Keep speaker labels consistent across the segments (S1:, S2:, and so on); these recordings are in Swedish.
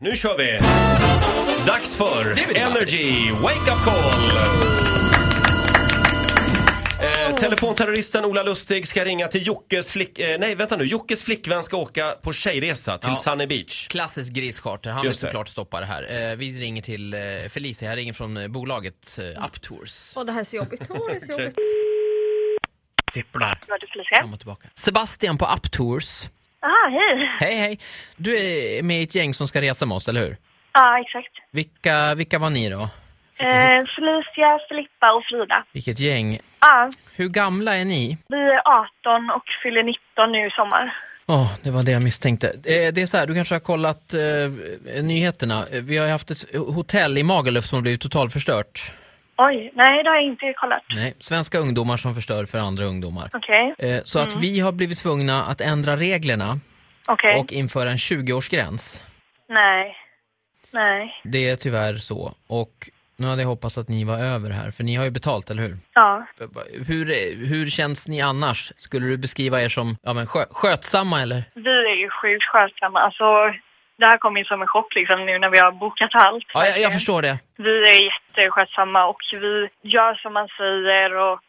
S1: Nu kör vi! Dags för Energy Wake Up Call! Eh, telefonterroristen Ola Lustig ska ringa till Jockes flick... Eh, nej, vänta nu. Jockes flickvän ska åka på tjejresa till
S2: Ja.
S1: Sunny Beach.
S2: Klassisk grischarter, han vill
S1: Just det.
S2: såklart stoppa det här. Eh, vi ringer till eh, Felicia, här ringer från eh, bolaget eh, Uptours.
S3: Åh, det här är så jobbigt. Åh, det är så jobbigt.
S2: Fipplar.
S4: Radio Felicia.
S2: Fram och tillbaka. Sebastian på Uptours.
S4: Ah, hej.
S2: Hej hej! Du är med i ett gäng som ska resa med oss, eller hur?
S4: Ja, exakt.
S2: Vilka, vilka var ni då?
S4: Eh, Felicia, Filippa och Frida.
S2: Vilket gäng?
S4: Ja,
S2: Hur gamla är ni?
S4: vi är 18 och fyller 19 nu i sommar.
S2: Åh, det var det jag misstänkte. Eh, det är så här, du kanske har kollat eh, nyheterna. Eh, Vi har ju haft ett hotell i Magaluf som har blivit totalförstört.
S4: Oj, nej det har jag inte kollat.
S2: Nej, svenska ungdomar som förstör för andra ungdomar.
S4: Okej,
S2: Eh, Så att vi har blivit tvungna att ändra reglerna
S4: okej.
S2: och införa en 20-årsgräns.
S4: Nej. Nej.
S2: Det är tyvärr så. Och nu hade jag hoppats att ni var över här, för ni har ju betalt, eller hur?
S4: Ja.
S2: Eh, va- Hur, eh, hur känns ni annars? Skulle du beskriva er som ja, men skö, skötsamma eller?
S4: Vi är ju sjukt skötsamma. Alltså, det här kom ju som en chock liksom nu när vi har bokat allt.
S2: Ja, jag, jag förstår det.
S4: Vi är jätteskötsamma och vi gör som man säger och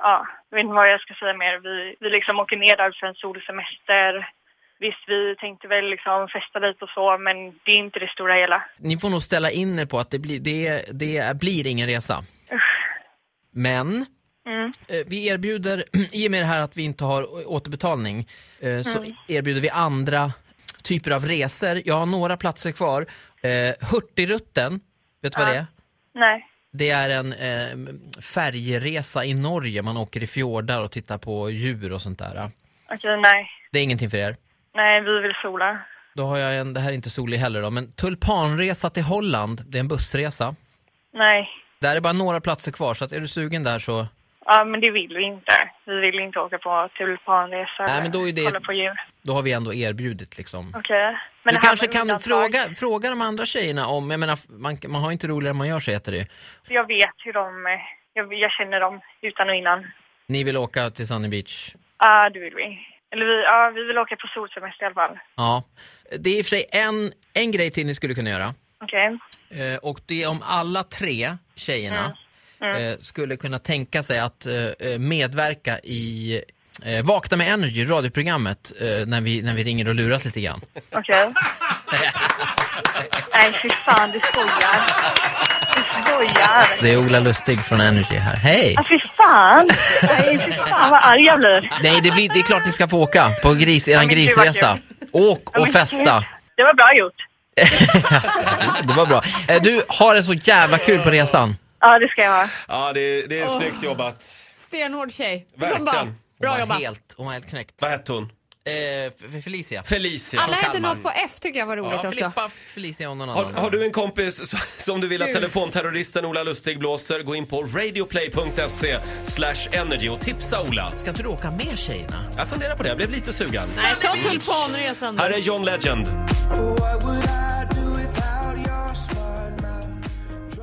S4: ja, jag vet inte vad jag ska säga mer. Vi, vi liksom åker ner där för en solsemester. Visst, vi tänkte väl liksom festa lite och så, men det är inte det stora hela.
S2: Ni får nog ställa in er på att det, blir det, det blir ingen resa. Men
S4: Mm.
S2: eh, vi erbjuder, i och med det här att vi inte har å- återbetalning, eh, så erbjuder vi andra typer av resor. Jag har några platser kvar. Eh, Hurtigrutten, vet du vad det är?
S4: Nej.
S2: Det är en eh, färjeresa i Norge. Man åker i fjordar och tittar på djur och sånt där.
S4: Okej, nej.
S2: Det är ingenting för er.
S4: Nej, vi vill sola.
S2: Då har jag en, det här är inte solig heller då, men Tulpanresa till Holland, det är en bussresa.
S4: Nej.
S2: Där är bara några platser kvar, så att är du sugen där så...
S4: Ja, men det vill vi inte. Vi vill inte åka på tulpanresa
S2: Nej,
S4: eller
S2: men då är det-
S4: kolla på djur.
S2: Då har vi ändå erbjudit liksom.
S4: Okej. Men
S2: du
S4: det här
S2: kanske
S4: var
S2: kan
S4: undantag.
S2: fråga, fråga de andra tjejerna om, jag menar, man, man har ju inte roligare än man gör sig heter det
S4: Jag vet hur de... eh, Jag, jag känner dem utan och innan.
S2: Ni vill åka till Sunny Beach?
S4: Ja, det vill vi. Eller vi, ja, vi vill åka på solsemester i alla fall.
S2: Ja. Det är i och för sig en, en grej till ni skulle kunna göra.
S4: Okej.
S2: Eh, och det är om alla tre tjejerna
S4: Mm.
S2: Eh, skulle kunna tänka sig att eh, eh, medverka i eh, Vakna med Energy, radioprogrammet, eh, när, vi, när vi ringer och luras lite grann.
S4: Okej. Nej, fy fan, du skojar. Du skojar.
S2: Det är Ola Lustig från Energy här. Hej!
S4: Ja, fy fan. Nej, fy fan vad arg jag blir.
S2: Nej, det, blir, det är klart ni ska få åka på gris,
S4: Ja,
S2: eran
S4: men gud, vad
S2: grisresa. Åk
S4: Ja,
S2: och
S4: men
S2: festa.
S4: gud. Det var bra gjort.
S2: Det var bra. Eh, Du, har det så jävla kul på resan.
S4: Ja, det ska jag ha.
S1: Ja, det, det är snyggt jobbat.
S3: Stenhård tjej.
S1: Verkligen.
S3: Som bara,
S2: Hon
S3: bra
S2: var
S3: jobbat.
S2: Helt, hon var helt knäckt.
S1: Vad hette hon?
S2: Eh, F- Felicia.
S1: Felicia.
S3: Alla hette
S2: Kalmar.
S3: något på F tycker jag var roligt
S2: Ja,
S3: också.
S2: Filippa, Felicia och någon
S1: Har,
S2: annan.
S1: har du en kompis s- som du vill att telefonterroristen Ola Lustig blåser, gå in på radioplay.se slash energy och tipsa Ola.
S2: Ska inte du åka med tjejerna?
S1: Jag funderar på det, jag blev lite sugen.
S3: Nej, ta tulpanresan då.
S1: Här är John Legend.
S5: What would I do without your smart mouth?